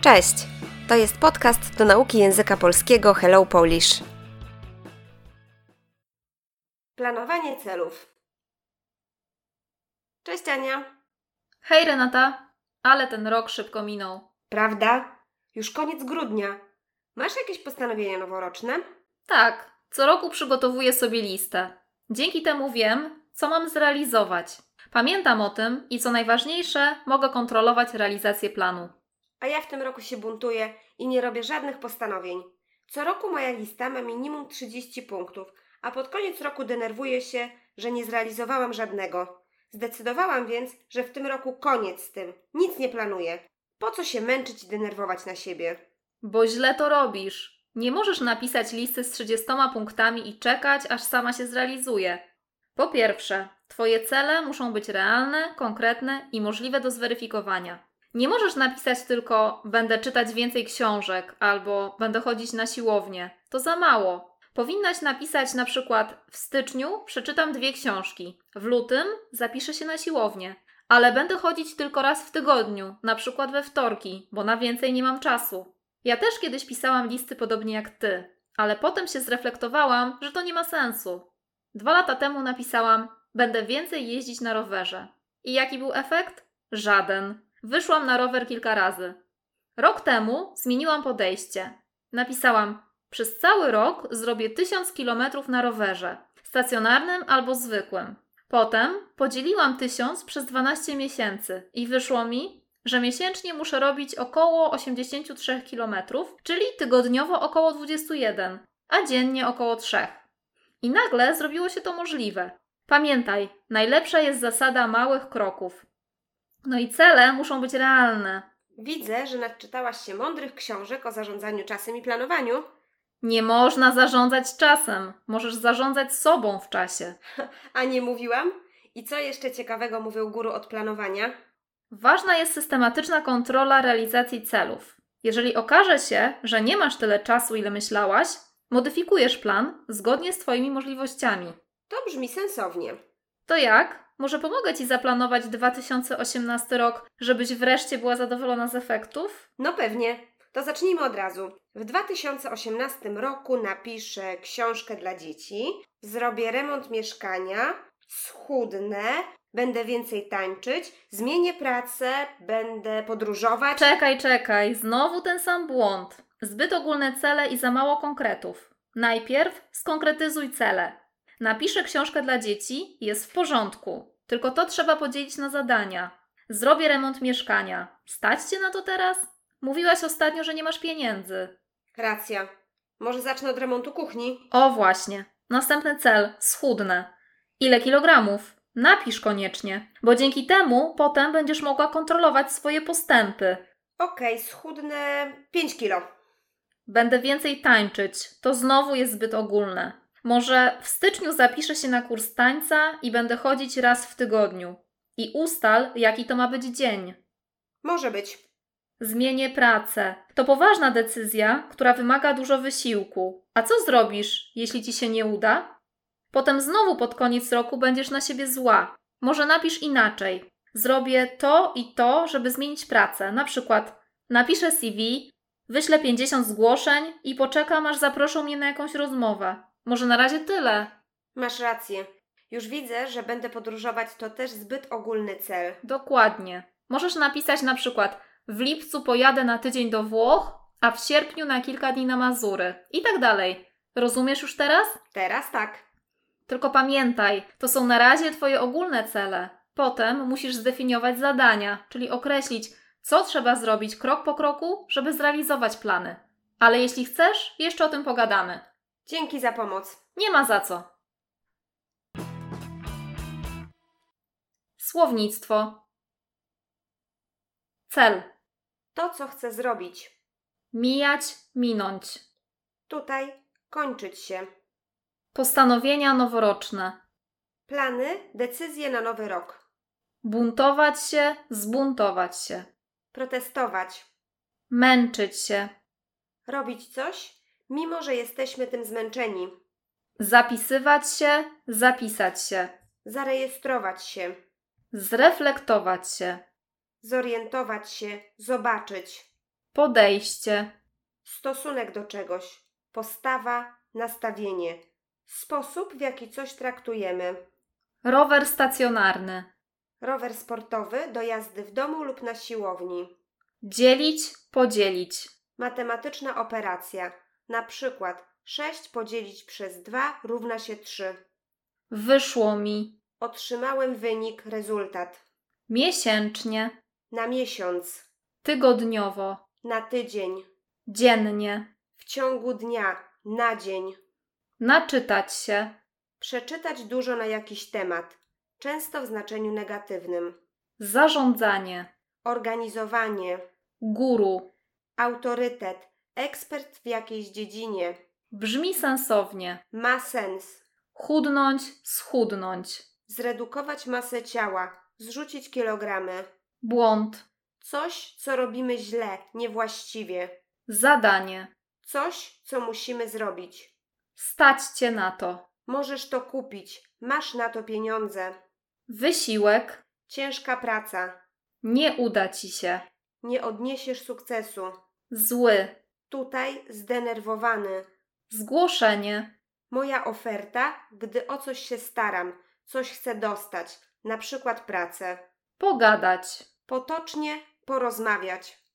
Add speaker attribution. Speaker 1: Cześć! To jest podcast do nauki języka polskiego Hello Polish. Planowanie celów. Cześć Ania.
Speaker 2: Hej Renata, ale ten rok szybko minął.
Speaker 1: Prawda? Już koniec grudnia. Masz jakieś postanowienia noworoczne?
Speaker 2: Tak, co roku przygotowuję sobie listę. Dzięki temu wiem, co mam zrealizować. Pamiętam o tym i co najważniejsze, mogę kontrolować realizację planu.
Speaker 1: A ja w tym roku się buntuję i nie robię żadnych postanowień. Co roku moja lista ma minimum 30 punktów, a pod koniec roku denerwuję się, że nie zrealizowałam żadnego. Zdecydowałam więc, że w tym roku koniec z tym. Nic nie planuję. Po co się męczyć i denerwować na siebie?
Speaker 2: Bo źle to robisz. Nie możesz napisać listy z 30 punktami i czekać, aż sama się zrealizuje. Po pierwsze, Twoje cele muszą być realne, konkretne i możliwe do zweryfikowania. Nie możesz napisać tylko będę czytać więcej książek albo będę chodzić na siłownię. To za mało. Powinnaś napisać na przykład w styczniu przeczytam dwie książki, w lutym zapiszę się na siłownię, ale będę chodzić tylko raz w tygodniu, na przykład we wtorki, bo na więcej nie mam czasu. Ja też kiedyś pisałam listy podobnie jak ty, ale potem się zreflektowałam, że to nie ma sensu. Dwa lata temu napisałam: Będę więcej jeździć na rowerze. I jaki był efekt? Żaden. Wyszłam na rower kilka razy. Rok temu zmieniłam podejście. Napisałam: Przez cały rok zrobię 1000 km na rowerze, stacjonarnym albo zwykłym. Potem podzieliłam 1000 przez 12 miesięcy i wyszło mi, że miesięcznie muszę robić około 83 km, czyli tygodniowo około 21, a dziennie około 3. I nagle zrobiło się to możliwe. Pamiętaj, najlepsza jest zasada małych kroków. No i cele muszą być realne.
Speaker 1: Widzę, że nadczytałaś się mądrych książek o zarządzaniu czasem i planowaniu.
Speaker 2: Nie można zarządzać czasem, możesz zarządzać sobą w czasie.
Speaker 1: A nie mówiłam? I co jeszcze ciekawego mówił guru od planowania?
Speaker 2: Ważna jest systematyczna kontrola realizacji celów. Jeżeli okaże się, że nie masz tyle czasu, ile myślałaś, modyfikujesz plan zgodnie z Twoimi możliwościami.
Speaker 1: To brzmi sensownie.
Speaker 2: To jak? Może pomogę Ci zaplanować 2018 rok, żebyś wreszcie była zadowolona z efektów?
Speaker 1: No pewnie. To zacznijmy od razu. W 2018 roku napiszę książkę dla dzieci, zrobię remont mieszkania, schudnę, będę więcej tańczyć, zmienię pracę, będę podróżować.
Speaker 2: Czekaj, czekaj, znowu ten sam błąd. Zbyt ogólne cele i za mało konkretów. Najpierw skonkretyzuj cele. Napiszę książkę dla dzieci, jest w porządku, tylko to trzeba podzielić na zadania. Zrobię remont mieszkania. Stać cię na to teraz? Mówiłaś ostatnio, że nie masz pieniędzy.
Speaker 1: Racja. Może zacznę od remontu kuchni.
Speaker 2: O właśnie, następny cel schudnę. Ile kilogramów? Napisz koniecznie, bo dzięki temu potem będziesz mogła kontrolować swoje postępy.
Speaker 1: Okej, schudnę 5 kilo.
Speaker 2: Będę więcej tańczyć. To znowu jest zbyt ogólne. Może w styczniu zapiszę się na kurs tańca i będę chodzić raz w tygodniu. I ustal, jaki to ma być dzień.
Speaker 1: Może być.
Speaker 2: Zmienię pracę. To poważna decyzja, która wymaga dużo wysiłku. A co zrobisz, jeśli ci się nie uda? Potem znowu pod koniec roku będziesz na siebie zła. Może napisz inaczej. Zrobię to i to, żeby zmienić pracę. Na przykład napiszę CV, wyślę 50 zgłoszeń i poczekam, aż zaproszą mnie na jakąś rozmowę. Może na razie tyle.
Speaker 1: Masz rację. Już widzę, że będę podróżować to też zbyt ogólny cel.
Speaker 2: Dokładnie. Możesz napisać na przykład w lipcu pojadę na tydzień do Włoch, a w sierpniu na kilka dni na Mazury i tak dalej. Rozumiesz już teraz?
Speaker 1: Teraz tak.
Speaker 2: Tylko pamiętaj, to są na razie Twoje ogólne cele. Potem musisz zdefiniować zadania, czyli określić, co trzeba zrobić krok po kroku, żeby zrealizować plany. Ale jeśli chcesz, jeszcze o tym pogadamy.
Speaker 1: Dzięki za pomoc.
Speaker 2: Nie ma za co. Słownictwo. Cel.
Speaker 1: To, co chcę zrobić.
Speaker 2: Mijać, minąć.
Speaker 1: Tutaj kończyć się.
Speaker 2: Postanowienia noworoczne.
Speaker 1: Plany, decyzje na nowy rok.
Speaker 2: Buntować się, zbuntować się.
Speaker 1: Protestować.
Speaker 2: Męczyć się.
Speaker 1: Robić coś, mimo że jesteśmy tym zmęczeni.
Speaker 2: Zapisywać się, zapisać się.
Speaker 1: Zarejestrować się.
Speaker 2: Zreflektować się.
Speaker 1: Zorientować się. Zobaczyć.
Speaker 2: Podejście.
Speaker 1: Stosunek do czegoś, postawa, nastawienie, sposób w jaki coś traktujemy.
Speaker 2: Rower stacjonarny.
Speaker 1: Rower sportowy do jazdy w domu lub na siłowni.
Speaker 2: Dzielić, podzielić.
Speaker 1: Matematyczna operacja, na przykład 6 podzielić przez 2 równa się 3.
Speaker 2: Wyszło mi.
Speaker 1: Otrzymałem wynik, rezultat.
Speaker 2: Miesięcznie.
Speaker 1: Na miesiąc,
Speaker 2: Tygodniowo.
Speaker 1: na tydzień,
Speaker 2: Dziennie.
Speaker 1: w ciągu dnia, na dzień.
Speaker 2: Naczytać się.
Speaker 1: Przeczytać dużo na jakiś temat, często w znaczeniu negatywnym.
Speaker 2: Zarządzanie.
Speaker 1: Organizowanie,
Speaker 2: Guru.
Speaker 1: autorytet, ekspert w jakiejś dziedzinie.
Speaker 2: Brzmi sensownie.
Speaker 1: Ma sens.
Speaker 2: Chudnąć, schudnąć.
Speaker 1: Zredukować masę ciała, zrzucić kilogramy.
Speaker 2: Błąd.
Speaker 1: Coś, co robimy źle, niewłaściwie.
Speaker 2: Zadanie.
Speaker 1: Coś, co musimy zrobić.
Speaker 2: Stać cię na to.
Speaker 1: Możesz to kupić, masz na to pieniądze.
Speaker 2: Wysiłek.
Speaker 1: Ciężka praca.
Speaker 2: Nie uda ci się.
Speaker 1: Nie odniesiesz sukcesu.
Speaker 2: Zły.
Speaker 1: Tutaj zdenerwowany.
Speaker 2: Zgłoszenie.
Speaker 1: Moja oferta, gdy o coś się staram, coś chcę dostać, na przykład pracę.
Speaker 2: Pogadać.
Speaker 1: Potocznie porozmawiać.